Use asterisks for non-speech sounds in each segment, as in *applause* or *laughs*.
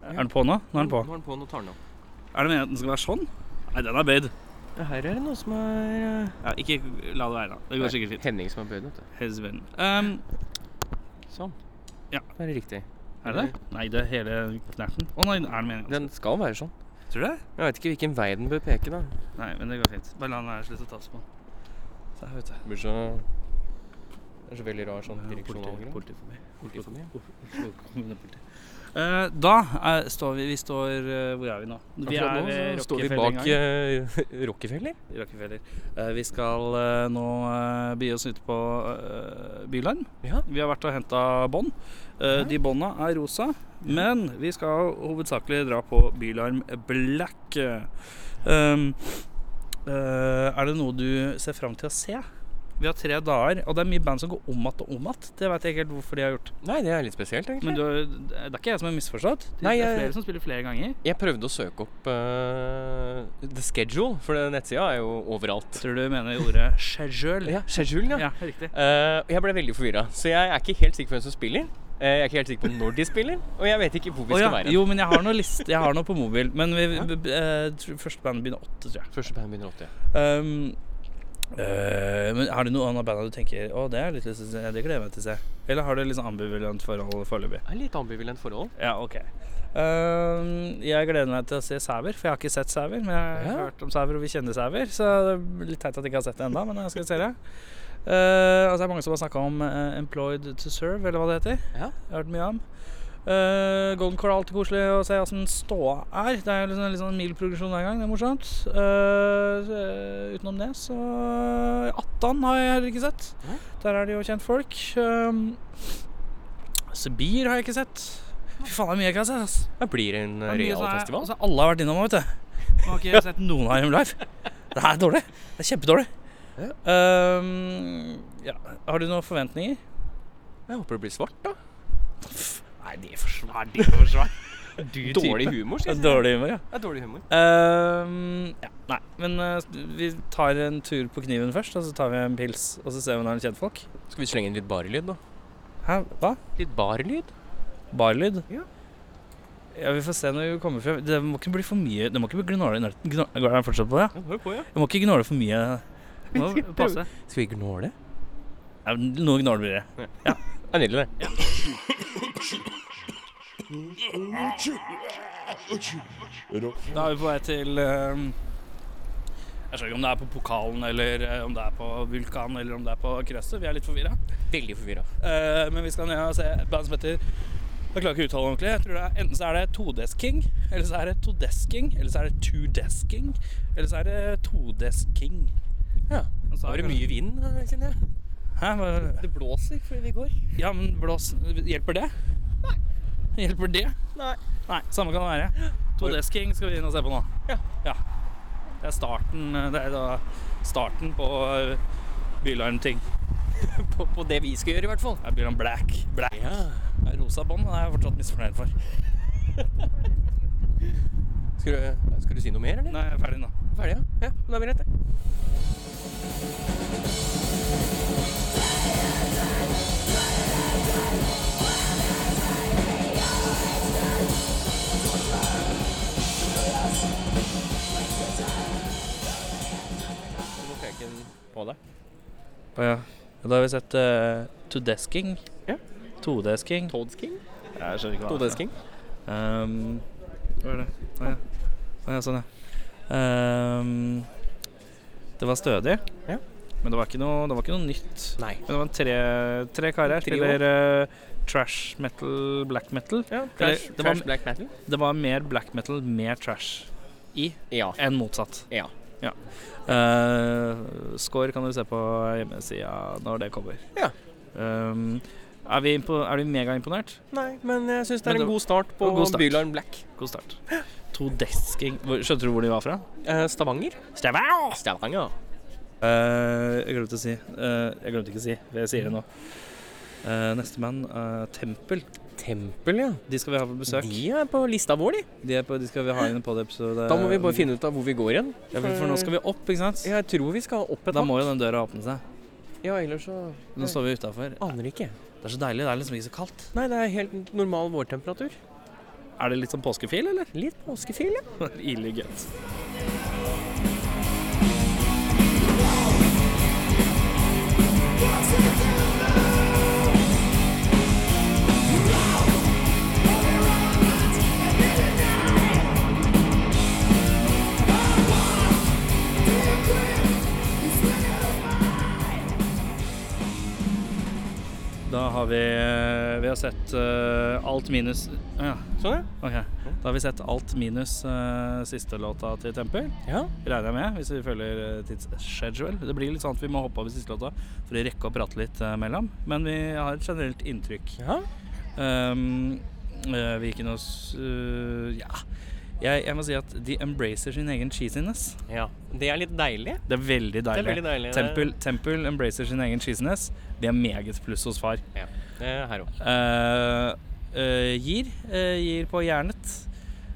Er den på nå? Nå er den på. Nå er den på, nå tar den opp. Er det meningen at den skal være sånn? Nei, den er bøyd. Ja, her er det noe som eh, er Ja, ikke la det være, da. Det går sikkert fint. Henning som er bøyd, vet du. Helsevenn. Ehm, Sånn. Ja. Da er det riktig. er det det? Nei, det er hele knerten. Å nei, er det meningen? Den skal være sånn. Tror du det? Jeg vet ikke hvilken vei den bør peke, da. Nei, men det går fint. Bare la den være slutt å tasse på den. Se her, vet du. Det blir så Det er så veldig rar sånn Politi, direksjonal politi forbi. greie. Oslo kommunepoliti. Eh, da er, står vi Vi står eh, Hvor er vi nå? Vi Akkurat er nå ved så står vi Rockefeller en bak gang. eh, *laughs* Rockefeller. Rockefeller. Eh, vi skal eh, nå eh, begi oss ut på eh, Bylarm. Ja. Vi har vært og henta bånd. Eh, de bånda er rosa, men vi skal hovedsakelig dra på Bylarm Black. Um, eh, er det noe du ser fram til å se? Vi har tre dager, og det er mye band som går om igjen og om igjen. Det veit jeg ikke helt hvorfor de har gjort. Nei, det er litt spesielt, Men egentlig. du, det er ikke jeg som har misforstått? Det Nei, er jeg- flere som spiller flere ganger. Jeg prøvde å søke opp eh, The Schedule, for den nettsida er jo overalt. Tror du mener ordet 'schedule'? Ja, Schedule, ja. Ja, riktig. Eh, og jeg ble veldig forvirra, så jeg er ikke helt sikker på hvem som spiller. Eh, jeg er ikke helt sikker på når de spiller, og jeg vet ikke hvor vi Å skal ja. være. Jo, men jeg har noe liste. Jeg har noe på mobil. Men vi, Ja. b- b- eh, tror- første band begynner åtte, tror jeg. Første band begynner 80. Um, eh, men Har du noe annet band du tenker Å, det er litt lyst til å se. Det gleder jeg meg til å se. Eller har du litt sånn ambivalent forhold foreløpig? Det er litt ambivalent forhold. Ja, OK. Um, jeg gleder meg til å se Sæver, for jeg har ikke sett Sæver. Men jeg har Ja. hørt om Sæver, og vi kjenner Sæver, så det er litt teit at jeg ikke har sett det ennå. Men jeg skal se det. Uh, og så er det mange som har snakka om eh, 'Employed to Serve', eller hva det heter. Ja. Jeg har hørt mye om. Eh, Golden Core er alltid koselig å se åssen ståa er. Det er liksom, litt sånn mild progresjon hver gang. Det er morsomt. Eh, så, eh, utenom det, så eh, Attan har jeg heller ikke sett. Nei. Der er det jo kjentfolk. Um, Sibir har jeg ikke sett. Fy faen, det er mye jeg ikke har sett. ass. Det blir en Det er mye real som er- festival. altså, alle har vært innom, vet du. Man har ikke sett noen av dem live. Det er dårlig. Det er kjempedårlig. Um, ja. Har du noen forventninger? Jeg håper det blir svart, da. Nei, det er for svært. Det er for svært. Du *laughs* Dårlig humor, Ja, sier jeg. Dårlig humor, ja. Det er dårlig humor. Ehm, ja. Nei, men eh, vi tar en tur på kniven først, og så tar vi en pils, og så ser vi om det er noen kjentfolk. Skal vi slenge inn litt barlyd, da? Hæ, hva? Litt barlyd? Barlyd? Ja. Ja, vi får se når vi kommer frem. Det må ikke bli for mye Det må ikke bli gnåle i nøtten. Gnå- Går den fortsatt på det? Ja, hør på, ja. Jeg må ikke gnåle for mye. Det må passe. Skal vi gnåle? Ja, noe gnål blir det. Det er nydelig, det. Da er vi på vei til ehm, Jeg skjønner ikke om det er på Pokalen, eller eh, om det er på Vulkan, eller om det er på Krøsset. Vi er litt forvirra. Veldig forvirra. Eh, men vi skal ned og se et band som heter Jeg klarer ikke å uttale det ordentlig. Jeg tror det er, enten så er det Todesking, eller så er det Todesking, eller så er det Tudesking, eller så er det Todesking. Ja. Altså, Da er det mye vind, da, kjenner jeg. Hæ? Hva- Det blåser fordi vi går. Ja, men blås Hjelper det? Nei. Hjelper det? Nei. Nei, samme kan det være. Todesking skal vi inn og se på nå. Ja. ja. Det er starten eh, Det er da starten på eh, Bylarm-ting. På, på det vi skal gjøre, i hvert fall. Det er Bylarm Black. Black. Ja. Det er Rosa bånd det er jeg fortsatt misfornøyd for. Skal du, skal du si noe mer, eller? Nei, jeg er ferdig nå. Ferdig, ja. ja. Da er vi rett, det. Du må peke den på deg. Å ja. Da har vi sett uh, Todesking. Ja. Todesking. Toadsking? Jeg skjønner ikke Toadsking? Um, hva er det? Å ja. Å ja, sånn ja. Ehm, det var stødig. Ja. Men det var ikke noe, det var ikke noe nytt. Nei. Men det var en tre, tre karer. Trio. Spiller eh, trash metal, black metal. Ja, trash- trash, trash black metal? Det var mer black metal, mer trash i Ja. enn motsatt. Ja. Eh, score kan du se på hjemmesida når det kommer. Ja. Ehm, er, vi impo er du megaimponert? Nei, men jeg syns det Men er det- en god start på Og god start. Bylarm Black. God start. Todesking Hvor- Skjønte du hvor de var fra? Eh, Stavanger? Stavanger! Stavanger. Eh, jeg glemte å si eh, Jeg glemte ikke å si, for jeg sier det nå. Uh, Nestemann, uh, Tempel. Tempel, ja. De skal vi ha på besøk. De er på lista vår, de. De, er på, de skal vi ha inn i podiepisode. Da må vi bare finne ut av hvor vi går igjen. ja, for, for nå skal vi opp, ikke sant? Jeg tror vi skal opp et Da hakk. må jo den døra åpne seg. Ja, ellers så Nå står vi utafor. Aner ikke. Det er så deilig. Det er liksom ikke så kaldt. Nei, det er helt normal vårtemperatur. Er det litt sånn påskefil, eller? Litt påskefil, ja. Ille gøtt. Da har vi, vi har sett eh, alt minus Å ja. Sånn, Ok, da har vi sett alt minus eh, siste låta til Tempel. ja. Regner jeg med, hvis vi følger eh, tidsschedule. Det blir litt sånn at vi må hoppe over siste låta for å rekke å prate litt eh, mellom. Men vi har et generelt inntrykk. Ja. Um, eh, vi gikk inn og s- eh, Ja. Jeg, jeg må si at de embracer sin egen cheesiness. ja. ja. Det er litt deilig. Det er veldig deilig. veldig deilig. Tempel, Tempel embracer sin egen cheesiness. Det er meget pluss hos far. Ja. Det er her òg. Eh, eh, gir. eh, gir på jernet.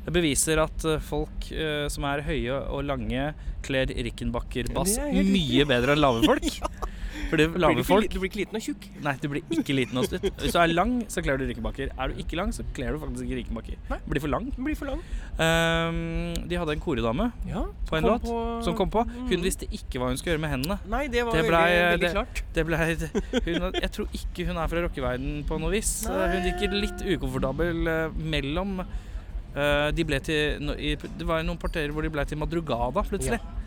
Det beviser at eh, folk eh, som er høye og lange, kler Rickenbacker-bass Ja, det er helt mye bedre enn lave *laughs* folk. Fordi du, lave ikke li- folk du blir ikke liten og tjukk. Nei, du blir ikke liten og stutt. Hvis du er lang, så kler du Rickenbacker. Er du ikke lang, så kler du faktisk ikke Rickenbacker. Nei. Du Blir for lang. Du blir for lang. Eh, de hadde en koredame Ja. på en kom låt som kom på. Mm. Hun visste ikke hva hun skulle gjøre med hendene. Nei, det var Det veldig, blei- veldig det- klart. Det ble, *laughs* hun, jeg tror ikke hun er fra rockeverdenen på noe vis. Eh, Nei. Hun virker litt ukomfortabel eh, mellom eh, De ble til no, i, Det var noen parterer hvor de ble til Madrugada plutselig. Altså,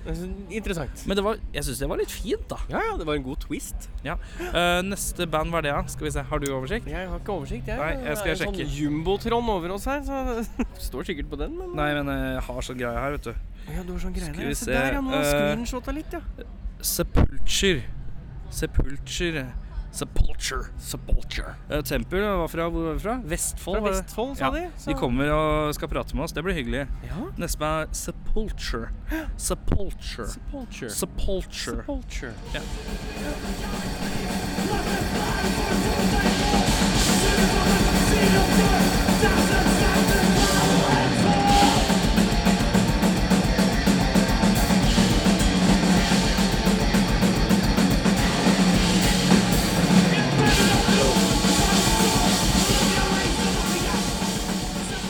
Interessant. Men det var, jeg syns det var litt fint, da. Ja, ja, det var en god twist. Eh, neste band var det, ja. Skal vi se, har du oversikt? Jeg har ikke oversikt, jeg. Nei, jeg det skal er en sjekke. sånn jumbotron over oss her, så *laughs* står sikkert på den. Men... Nei, men eh, jeg har sånn greie her, vet du. Ja, du har sånn greie Skal der. vi ja. Se se, der, ja. Nå har eh, screenshotet litt, ja. Sepulcher. Sepulcher. Sepulcher. Sepulcher. Eh, Tempel var fra hvor var vi fra? Vestfold. Fra var det. Vestfold, sa ja, de. Så. De kommer og skal prate med oss. Det blir hyggelig. Ja. Neste band er Sepulture. Sepulture. Sepulture. Sepulture. Sepulture.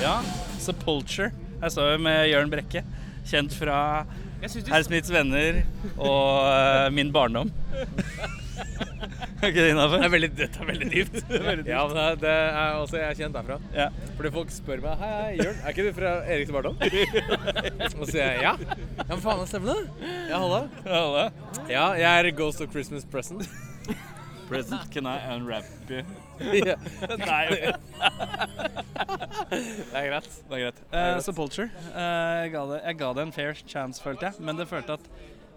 Ja, Sepulture. Her står vi med Jørn Brekke. Kjent fra Jeg synes Herr Smiths venner og eh, min barndom. Er ikke det innafor? Det er veldig, dette er veldig dypt. Ja, men det- det er altså jeg er kjent derfra. Ja. Fordi folk spør meg Hei, hei, Jørn, er ikke du fra Erik til *laughs* Bardal? Og så sier jeg ja. Ja, men faen, det stemmer det. Ja, halla. Alle. Ja, jeg er Ghost of Christmas *laughs* Present. Present can I unwrap you? Ja, Nei, det er greit. det er greit. Eh, Sepulture. Eh, jeg, ga det, jeg ga det en fair chance, følte jeg. Men det følte at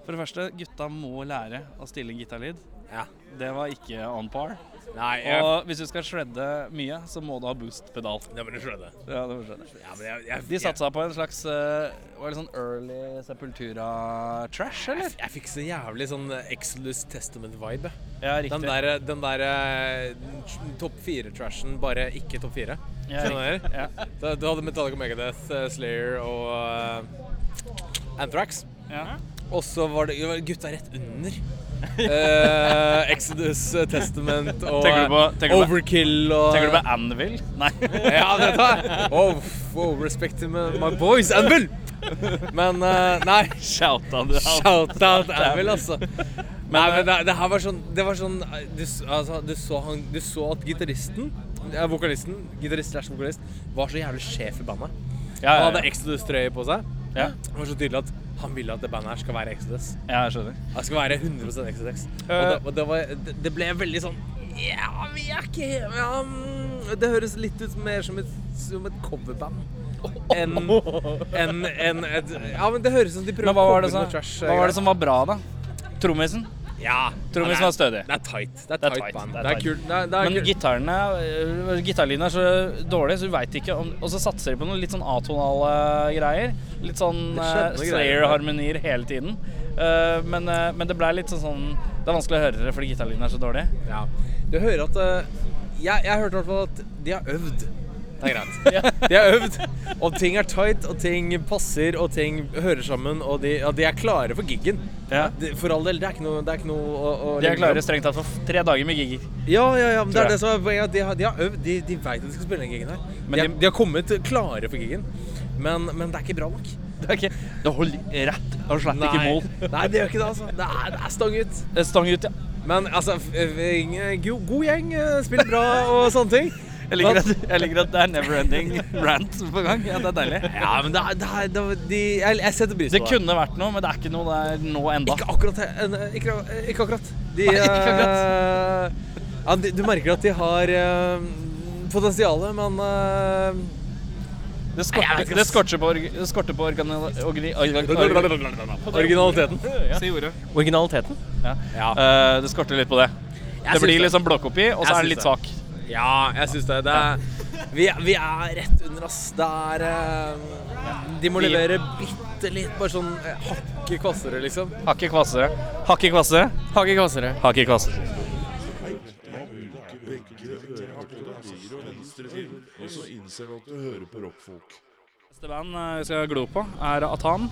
for det første, gutta må lære å stille gitarlyd. Ja. Det var ikke on par. Nei, jeg, Og hvis du skal shredde mye, så må du ha boost-pedal. ja, men du skjønner. Ja, det må skjedde. Ja, men jeg, jeg, De jeg, satsa på en slags eh, var det sånn early Sepultura-trash, eller? jeg fikk så jævlig sånn eh, Exodus Testament-vibe. Ja, Den der, eh, den der eh, tr- topp fire-trashen, bare ikke topp fire. Ja, Skjønner du? Ja. Da- Du hadde Metallica Megadeth, eh, Slayer og eh, Anthrax. Ja. Og så var det, det var gutta rett *laughs* under. Eh, Exodus, eh, Testament og eh, Tenker du på- tenker du på- Overkill og Tenker du på Anvil? Nei. *laughs* Ja, det tar jeg. Oh, f- oh, respect to my, my boys, Anvil! Men eh, nei. Shouta du av. Shout out Anvil, *laughs* altså. Nei, men eh, det, det her var sånn Det var sånn eh, Du, s- altså, du, så, han, du så at gitaristen, eh, vokalisten, gitarist slash vokalist, var så jævlig sjef i bandet. Ja, Han ja, hadde ja. Exodus-trøye på seg. ja. Det var så tydelig at han ville at det bandet her skal være Exodus. ja jeg skjønner. Det skal være 100 XXX. Og Eh. det, og det, var, det, det ble veldig sånn Ja, vi er ikke helt ja, mm, Det høres litt ut mer som et, som et coverband. *laughs* Enn enn- enn et Ja, men det høres ut som de prøver Men hva var, det å som, covre noe trash. hva var det som var bra, da? Trommisen? Ja. Trommisen Ja, var stødig. Det er tight. Det er er tight, tight, band. det er Det er, tight. kult. Det er, det er Men kult. gitarene øh, Gitarlyden er så dårlig, så du veit ikke om Og så satser de på noen litt sånn atonale greier. Litt sånn Det eh, skjedde noen greier. Slayer-harmonier hele tiden. Eh, men, eh, men det blei litt sånn sånn Det er vanskelig å høre det fordi gitarlyden er så dårlig. Ja. Du hører at eh, jeg, jeg hørte i hvert fall at de har øvd. Det er greit. *laughs* *laughs* De har øvd, og ting er tight, og ting passer, og ting hører sammen, og de, ja, de er klare for giggen. Ja. Det- For all del, det er ikke noe, det er ikke noe å, å De er legge klare strengt tatt for f- tre dager med gigger. Ja, ja, ja, men det Tror jeg. er det som er poenget. De har, de har øvd, de, de veit at de skal spille den gigen her. Men De, er- de- de har kommet klare for gigen, men, men det er ikke bra nok. Det, er ikke, det holder rett og slett ikke mål. Nei, det gjør ikke det, altså. Det er, det er stang ut. Eh, Stang ut, ja. Men altså, f- eh, god, god gjeng, eh, spiller bra og sånne ting. Jeg liker, Men- at, jeg liker at det er never *laughs* ending rant på gang. Ja, det er deilig. Ja, men det er, det er, det er de, jeg, jeg setter pris Det på det. kunne vært noe, men det er ikke noe det er nå enda. Ikke akkurat. her- eh, Ikke, ikke akkurat. De, Nei, ikke akkurat. eh, ja, de, du merker at de har eh, potensialet, men eh, Det Nei, jeg vet skorter, ikke, det ass. skorter på, org- det skorter på organ... Orgri, *laughs* Originaliteten. Si ordet. Originaliteten. Ja. Ja. Eh, det skorter litt på det. det syns blir det. liksom blokkoppi, og så er det Jeg syns litt det. svak. Ja, jeg syns det. det er, vi, er- vi er rett under, ass. Det er eh, De må Vi- levere bitte litt, bare sånn eh, hakket kvassere, liksom. Hakket kvassere. Hakket kvassere. Hakket kvassere. Hakket kvassere. Og så innser du at du hører på rockfolk. Neste band eh, vi skal glo på, er Atan.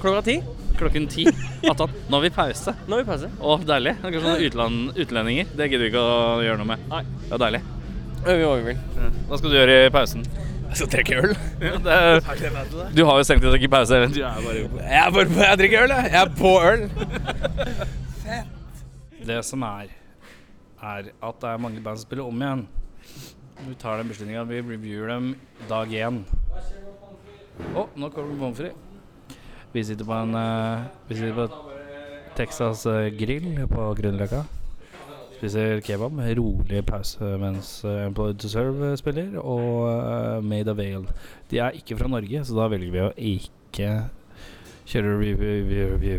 Klokka ti. Klokken *laughs* ti. Atan. Nå har vi pause. Nå vil vi pause. Å, deilig. Det er Kanskje sånne utland, utlendinger. Det gidder vi ikke å gjøre noe med. Nei. Det er deilig. Øver vi overvill. Hva skal du gjøre i pausen? Jeg skal drikke øl. Ja, det er, du har jo strengt tatt ikke pause. eller? Du er bare Jeg, er bare, på- jeg drikker øl, jeg. Jeg er på øl. Det som er, er at det er mange band som spiller om igjen. Vi tar den beslutninga. Vi reviewer dem dag én. Å, nå kommer det pommes frites. Vi sitter på en eh, Vi sitter på Texas eh, grill på Grünerløkka. Spiser kebab. Rolig pause mens eh, Employed to Serve spiller, og eh, Made of Vale. De er ikke fra Norge, så da velger vi å ikke kjøre review. review, review.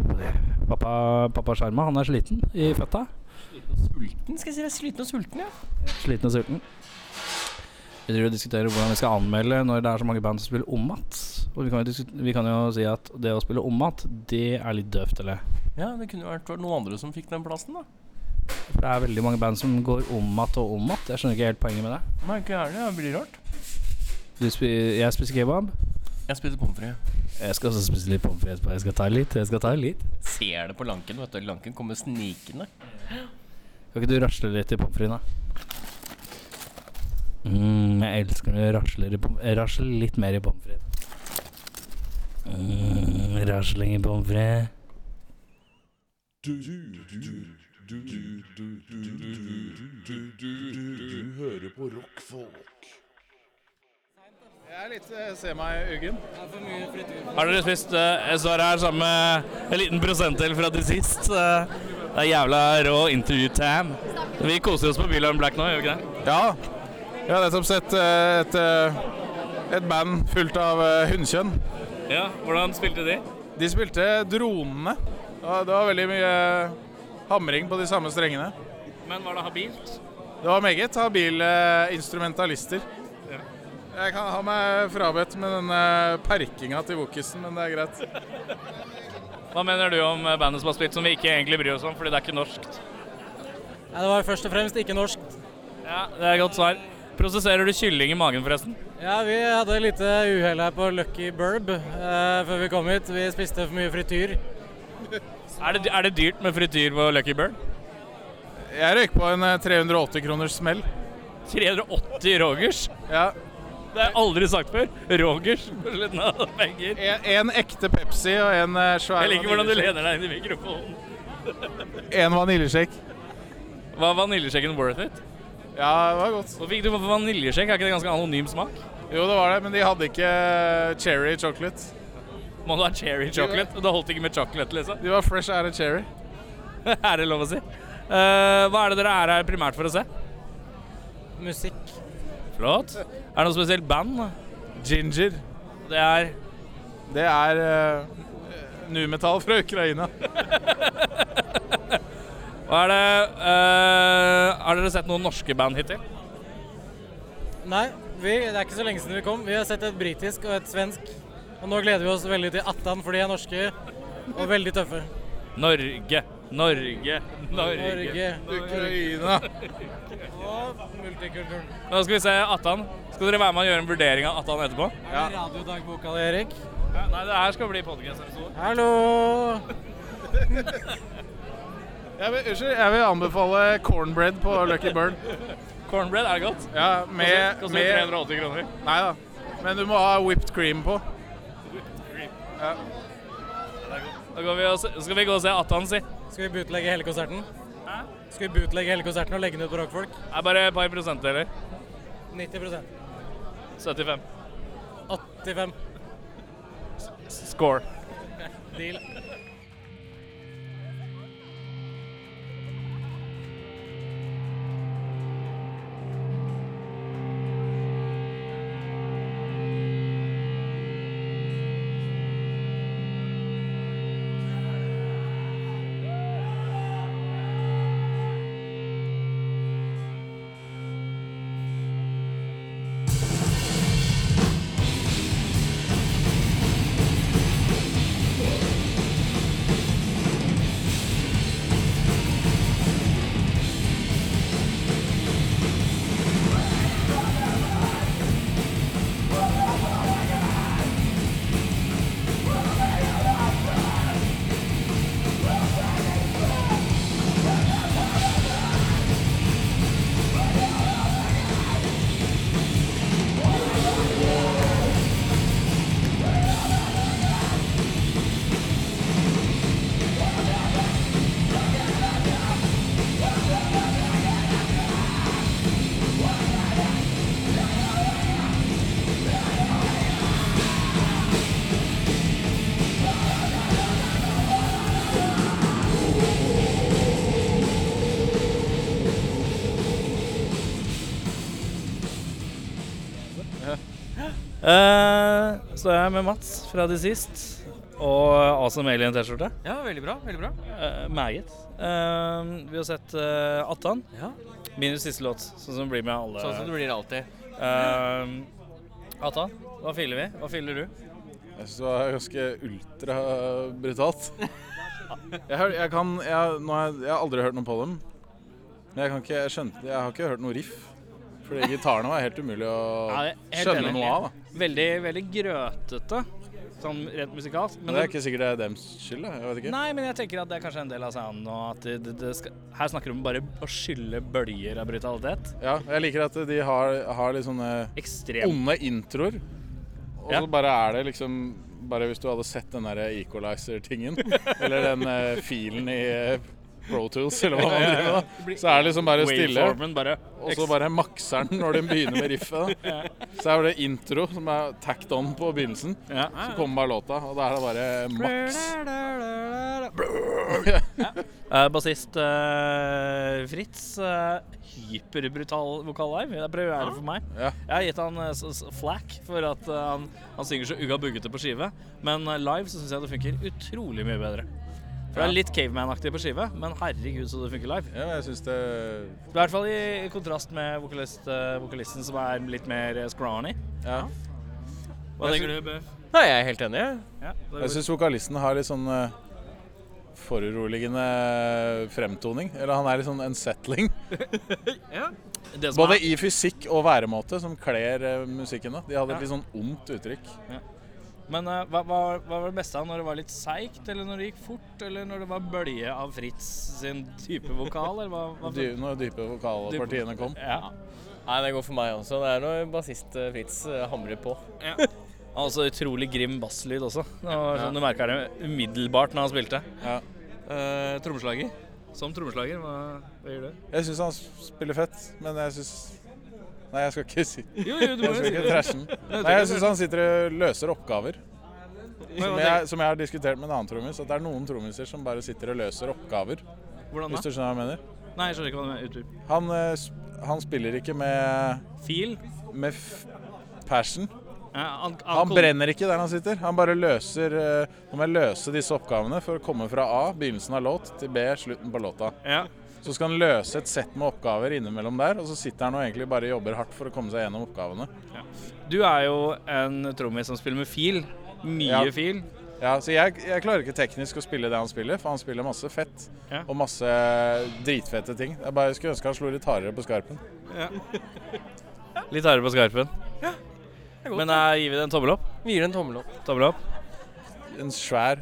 Pappa, pappa Sjarma, han er sliten i føtta. Sulten, skal jeg si deg. Sliten og sulten, ja. Sliten og sulten. Vi driver og diskuterer hvordan vi skal anmelde når det er så mange band som spiller om igjen. Og vi kan, jo diskut- vi kan jo si at det å spille om igjen, det er litt døvt, eller? Ja, det kunne jo vært noen andre som fikk den plassen, da. For det er veldig mange band som går om igjen og om igjen. Jeg skjønner ikke helt poenget med det. Nei, ikke gjerne. Det blir rart. Du spi jeg spiser kebab. Jeg spiste pommes frites. Jeg skal også spise litt pommes frites. Jeg skal ta litt. Jeg skal ta litt. Ser det på lanken, vet du. Lanken kommer snikende. Kan ikke du rasle litt i pommes frites, da? Mm, jeg elsker når du rasler, i pom- eh, rasler litt mer i pommes frites. Mm, rasling i pommes frites. Du, du, du, du, du, du, du, du, du, du, du, du, du hører på rockfolk. Jeg er litt eh, se meg i uggen. Har dere spist eh, Jeg står her sammen med en liten prosentdel fra til sist. eh, Det er jævla rå intervju-tam. Vi koser oss på Bylarm Black nå, gjør vi ikke det? Ja. Jeg har nettopp sett eh, et, eh, et band fullt av eh, hunnkjønn. Ja, Hvordan spilte de? De spilte dronene. Og det var veldig mye eh, hamring på de samme strengene. Men var det habilt? Det var meget habile instrumentalister. Ja. Jeg kan ha meg frabedt med den eh, perkinga til wokisen, men det er greit. Hva mener du om eh, bandet som har spilt som vi ikke egentlig bryr oss om, fordi det er ikke norskt? Ja, det var først og fremst ikke norsk. Ja, Det er godt svar. Prosesserer du kylling i magen, forresten? Ja, Vi hadde et lite uhell her på Lucky Burb eh, før vi kom hit. Vi spiste for mye frityr. Er det, er det dyrt med frityr på Lucky Bird? Jeg røyk på en eh, 380 kroners smell. 380 rogers? Ja. Det har jeg aldri sagt før. Rogers på slutten av penger. En, en ekte Pepsi og en eh, svær Jeg liker hvordan du vaniljeshake. lener deg inn i mikrofonen. En vaniljeshake. Var vaniljesjekken worth it? Ja, det var godt. Nå fikk du vaniljesjekk, er ikke det ganske anonym smak? Jo, det var det, men de hadde ikke eh, cherry chocolate. Må du ha cherry chocolate? Det holdt ikke med chocolate, liksom. *laughs* De var fresh out of cherry. er det lov å si? Eh, hva er det dere er her primært for å se? Musikk. Flott. Er det noe spesielt band? Ginger. Det er Det er uh, nu-metall fra Ukraina. Hva er det eh, Har dere sett noen norske band hittil? Nei, vi, det er ikke så lenge siden vi kom. Vi har sett et britisk og et svensk. Og nå gleder vi oss veldig til Attan, for de er norske og veldig tøffe. Norge. Norge, Norge. Norge. Ukraina. Og multikulturen. Nå skal vi se Attan. Skal dere være med og gjøre en vurdering av Attan etterpå? Er det radiodagboka di, Erik? Nei, det her skal bli podkast-episode. Hallo! Jeg vil, unnskyld, jeg vil anbefale cornbread på Lucky Bird. Cornbread, er det godt? Ja, Eh, med, Koster med 380 kroner. Nei da. Men du må ha whipped cream på. Da går vi og se, skal vi gå og se Attan, si. Det Skal vi bootlegge hele konserten? Skal vi bootlegge hele konserten og legge den ut på rockfolk? er bare et par prosentdeler. 90 75. 85 Score. deal. Uh, står jeg med Mats fra de sist. Og Awesome Alien-T-skjorte. Ja, veldig bra. veldig bra Eh, meget. Eh, vi har sett eh, Attan. Ja. Minus siste låt, sånn som det blir med alle. Sånn som det blir alltid. Eh, Attan, hva fyller vi? Hva fyller du? Jeg syns det var ganske ultrabrutalt. Jeg, hør, jeg kan jeg, nå har jeg, jeg har aldri hørt noe på dem. Men jeg kan ikke jeg skjønte Jeg har ikke hørt noe riff. Fordi gitarene var helt umulig å Ja, jeg er helt skjønne enig. noe av. da. Veldig, veldig grøtete, sånn rent musikalt. Men det er ikke sikkert det er dems skyld. da. Jeg vet ikke. Nei, men jeg tenker at det er kanskje en del av sounden og at det, det, det skal, Her snakker vi om bare å skylle bølger av brutalitet. Ja, jeg liker at de har, har litt sånne Ekstremt. onde introer. Og Ja. så bare er det liksom Bare hvis du hadde sett den der equalizer-tingen, *laughs* eller den eh, filen i eh, Pro Tools, eller hva man driver med, da, så er det liksom bare stille. Waveformen bare Og så bare makser den når den begynner med riffet. Da. Så er det intro som er tacked on på begynnelsen. Ja. Så kommer bare låta, og da er det bare *laughs* maks. Eh, Bassist eh, Fritz. eh, hyperbrutal vokallive. Det er premiere for meg. Ja. Jeg har gitt han eh, s- s- flack for at eh, han, han synger så ugga buggete på skive, men eh, live så syns jeg det funker utrolig mye bedre. For Det er litt caveman-aktig på skive, men herregud så det funker live. Ja, jeg syns det I hvert fall i kontrast med vokalist, eh, vokalisten som er litt mer eh, scrawny. Ja. Hva Jeg tenker du, Bøff? Nei, jeg er helt enig. jeg. Ja, det Jeg går- syns vokalisten har litt sånn eh, foruroligende eh, fremtoning. Eller han er litt sånn unsettling. det som Altså, Både er, i fysikk og væremåte, som kler eh, musikken. da. De hadde et litt sånn ondt uttrykk. men eh, hva, hva, hva var det beste av når det var litt seigt, eller når det gikk fort, eller når det var bølge av Fritz sin type vokal, eller hva? hva Dy når dype vokalpartiene kom. ja. Nei, det går for meg også. Det er når bassist eh, Fritz eh, hamrer på. Han har også Altså, utrolig grim basslyd også. Det var sånn Du merka det umiddelbart når han spilte. Ja. Eh, trommeslager. Som trommeslager, hva, hva gjør du? Jeg syns han spiller fett, men jeg syns Nei, jeg skal ikke si Jo, jo, du Jeg skal ikke trashe *laughs* den. Nei, jeg syns han sitter og løser oppgaver. Som jeg, som jeg har diskutert med en annen trommis, at det er noen trommiser som bare sitter og løser oppgaver. Hvordan da? Hvis du skjønner hva jeg mener. Nei, jeg skjønner ikke hva du mener. Utdyp. Han, eh, sp- han spiller ikke med, Fil? med f passion. Ja, han, Han brenner ikke der han sitter. Han bare løser eh, Nå må jeg løse disse oppgavene for å komme fra A, begynnelsen av låt, til B, slutten på låta. Ja. Så skal han løse et sett med oppgaver innimellom der, og så sitter han og egentlig bare jobber hardt for å komme seg gjennom oppgavene. Du er jo en trommis som spiller med fil. Mye Ja. fil. Ja, så jeg, jeg klarer ikke teknisk å spille det han spiller, for han spiller masse fett. Ja. Og masse dritfette ting. Jeg bare skulle ønske han slo litt hardere på skarpen. *laughs* Litt hardere på skarpen. Men jeg gir vi det en tommel opp. Vi gir en tommel opp. Tommel opp. En svær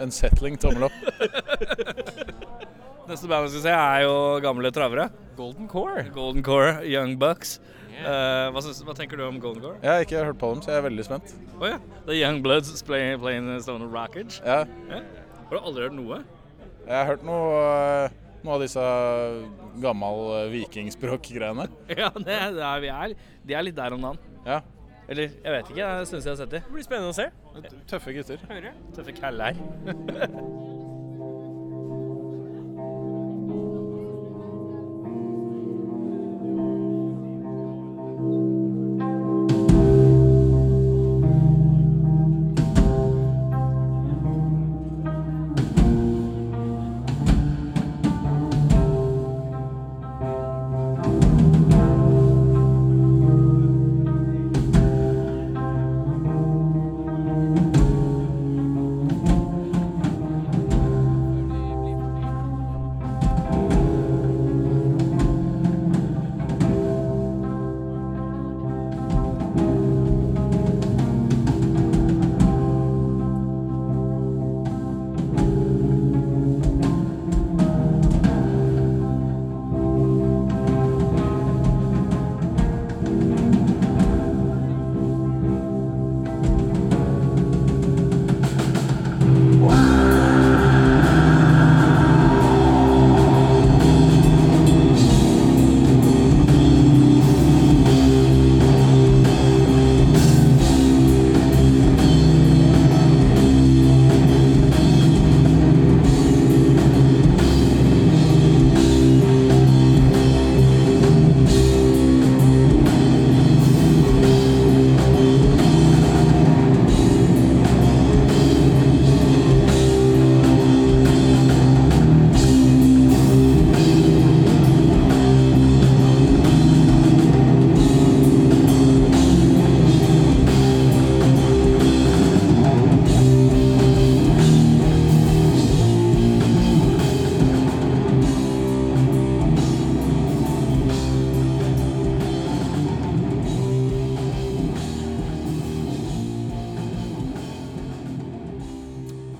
unsettling tommel opp. Neste band vi skal se, er jo gamle travere. Golden core. Golden Core, Young Bucks. Eh, hva, syns- hva tenker du om Golden Core? Jeg har ikke hørt på dem, så jeg er veldig spent. Å ja. The Young Bloods playing, playing Stone Rockage. Ja, Har du aldri hørt noe? jeg har hørt noe, eh, noe av disse gammel vikingspråk-greiene. *laughs* Ja, det, det er, vi er, de er litt der om dagen. Ja. Eller jeg vet ikke, jeg syns jeg har sett de. Det blir spennende å se. Tøffe gutter. Tøffe kæller.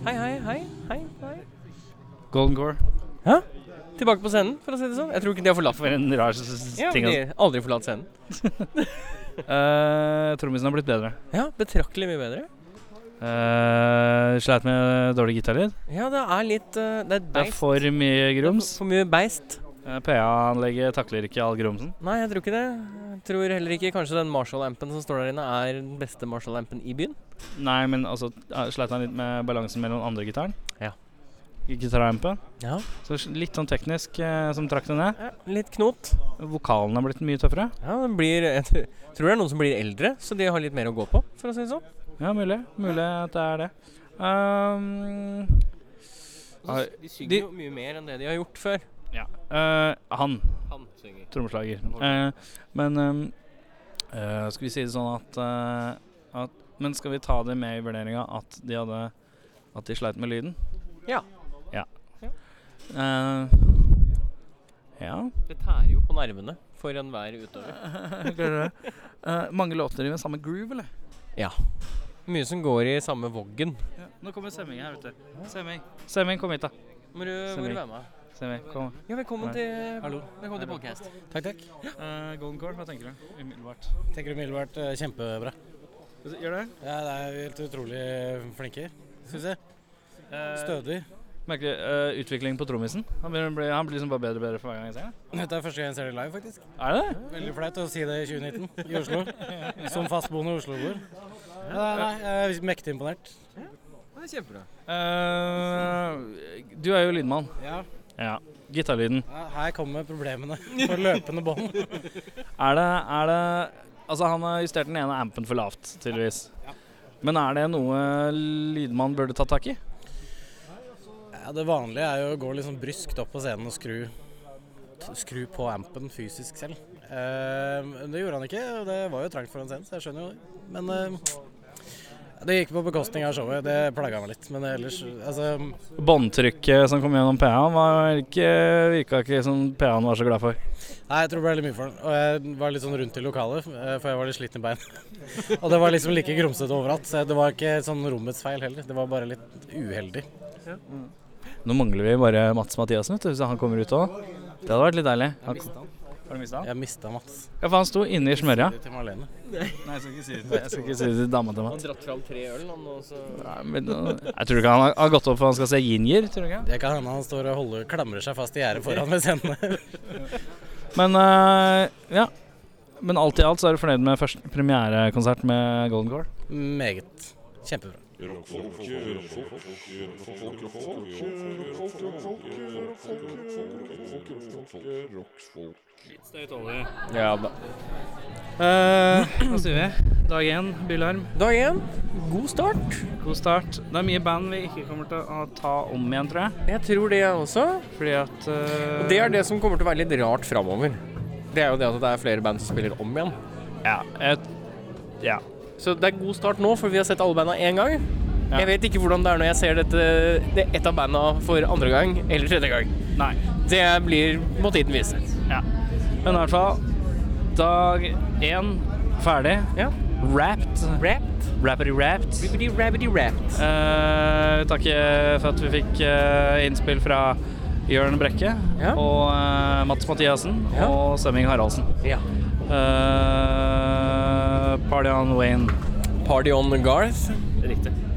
Hei, hei, hei. Hei, hei. Golden Core. Tilbake på scenen, for å si det sånn. Jeg tror ikke de har forlatt For en rar s- s- Ja, ting. de altså. har aldri forlatt scenen. Eh, Trommisen har blitt bedre. Ja, betraktelig mye bedre. Eh, sleit med dårlig gitarlyd. Ja, det er litt eh, Det er et Det er beist. for mye *laughs* grums. For mye beist. Eh, PA-anlegget takler ikke all grumsen. Nei, jeg tror ikke det. Jeg tror heller ikke kanskje den Marshall-ampen som står der inne, er den beste Marshall-ampen i byen. Nei, men altså eh, sleit han litt med balansen mellom andre gitaren. Ja. Gitarampen. Ja. Så s- litt sånn teknisk eh, som trakk det ned. Litt knot. Vokalen har blitt mye tøffere. Ja, den blir Jeg tr- tror det er noen som blir eldre, så de har litt mer å gå på, for å si det sånn. Ja, mulig. Mulig at det er det. Ehm, Ja, De synger de- jo mye mer enn det de har gjort før. ja. Eh, han, Han synger. trommeslager. Eh, men ehm, eh, skal vi si det sånn at, eh, at Men skal vi ta det med i vurderinga at de hadde At de sleit med lyden? Ja. Ja. Ja. Eh, *laughs* ja. Det tærer jo på nervene for enhver utøver. Klarer det. Eh, mange låter i den samme groove, eller? Mye som går i samme voggen. Nå kommer Semming her, vet du. Semming, Semming kom hit, da. Må du Stemmer. må du være med? Semming, kom. Ja, velkommen Nei. til Hallo. Velkommen til podcast. Takk, takk. Eh, Golden Core, hva tenker du? Umiddelbart. Tenker umiddelbart eh, kjempebra. Gjør det? Ja, det er jo helt utrolig flinke, syns jeg. Eh, Stødig. Merkelig eh, utvikling på trommisen. Han blir, blir, han blir liksom bare bedre og bedre for hver gang jeg ser ham. Dette er første gang jeg ser det live, faktisk. Er det det? Veldig flaut å si det i 2019 i Oslo. Som fastboende Oslo-boer. Ja, nei, nei, jeg er mektig imponert. Det er kjempebra. Eh, du er jo lydmann. Ja, Ja. Gitarlyden. her kommer problemene på løpende bånd. Er det, er det Altså, han har justert den ene ampen for lavt, tydeligvis. Men er det noe lydmann burde tatt tak i? Ja, det vanlige er jo å gå litt sånn bryskt opp på scenen og skru, t- skru på ampen fysisk selv. Eh, men det gjorde han ikke, og det var jo trangt for en scene, så jeg skjønner jo det. Men eh, Det gikk på bekostning av showet. Det plaga meg litt. Men ellers Altså, Båndtrykket som kom gjennom PA-en, var ikke, virka ikke som PA-en var så glad for. nei, jeg tror det ble litt mye for den. Og jeg var litt sånn rundt i lokalet, eh, for jeg var litt sliten i beina. *laughs* Og det var liksom like grumsete overalt. Så det var ikke sånn rommets feil heller. Det var bare litt uheldig. Nå mangler vi bare Mats Mathiassen, vet du, hvis han kommer ut òg. Det hadde vært litt deilig. Han kom- Har du mista han? Jeg mista Mats. Ja, for han sto inne i smørja. Til Marlene. Nei, jeg skal ikke si det Jeg skal ikke si det til dama til Han Mats. dratt fram tre øl, han, og så Nei, men, eh, jeg tror ikke han har- har gått opp for han skal se Ginger, tror du ikke? Det kan hende han står og holder, klamrer seg fast i gjerdet foran med hendene. Men eh, ja. Men alt i alt så er du fornøyd med første premierekonsert med Golden Core? Meget. Kjempebra. Ja da. Hva sier vi? Dag én, Bylarm. Dag én. God start. God start. Det er mye band vi ikke kommer til å ta om igjen, tror jeg. Jeg tror det, jeg også. Fordi at eh, Og det er det som kommer til å være litt rart framover. Det er jo det at det er flere band som spiller om igjen. Ja. Et, ja. Så det er god start nå, for vi har sett alle banda én gang. Ja. Jeg vet ikke hvordan det er når jeg ser dette, det ett av banda for andre gang eller tredje gang. Nei. Det blir må tiden vise. Ja. Men i hvert fall Dag én ferdig. Ja. Wrapped. Wrapped. Rappity wrapped. Ribbity rabbity wrapped. Eh, takk eh, for at vi fikk eh, innspill fra Jørn Brekke Ja. og eh, Mats Mathiassen Ja. og Semming Haraldsen. Ja. Eh, party on Wayne. Party on Garth. Riktig.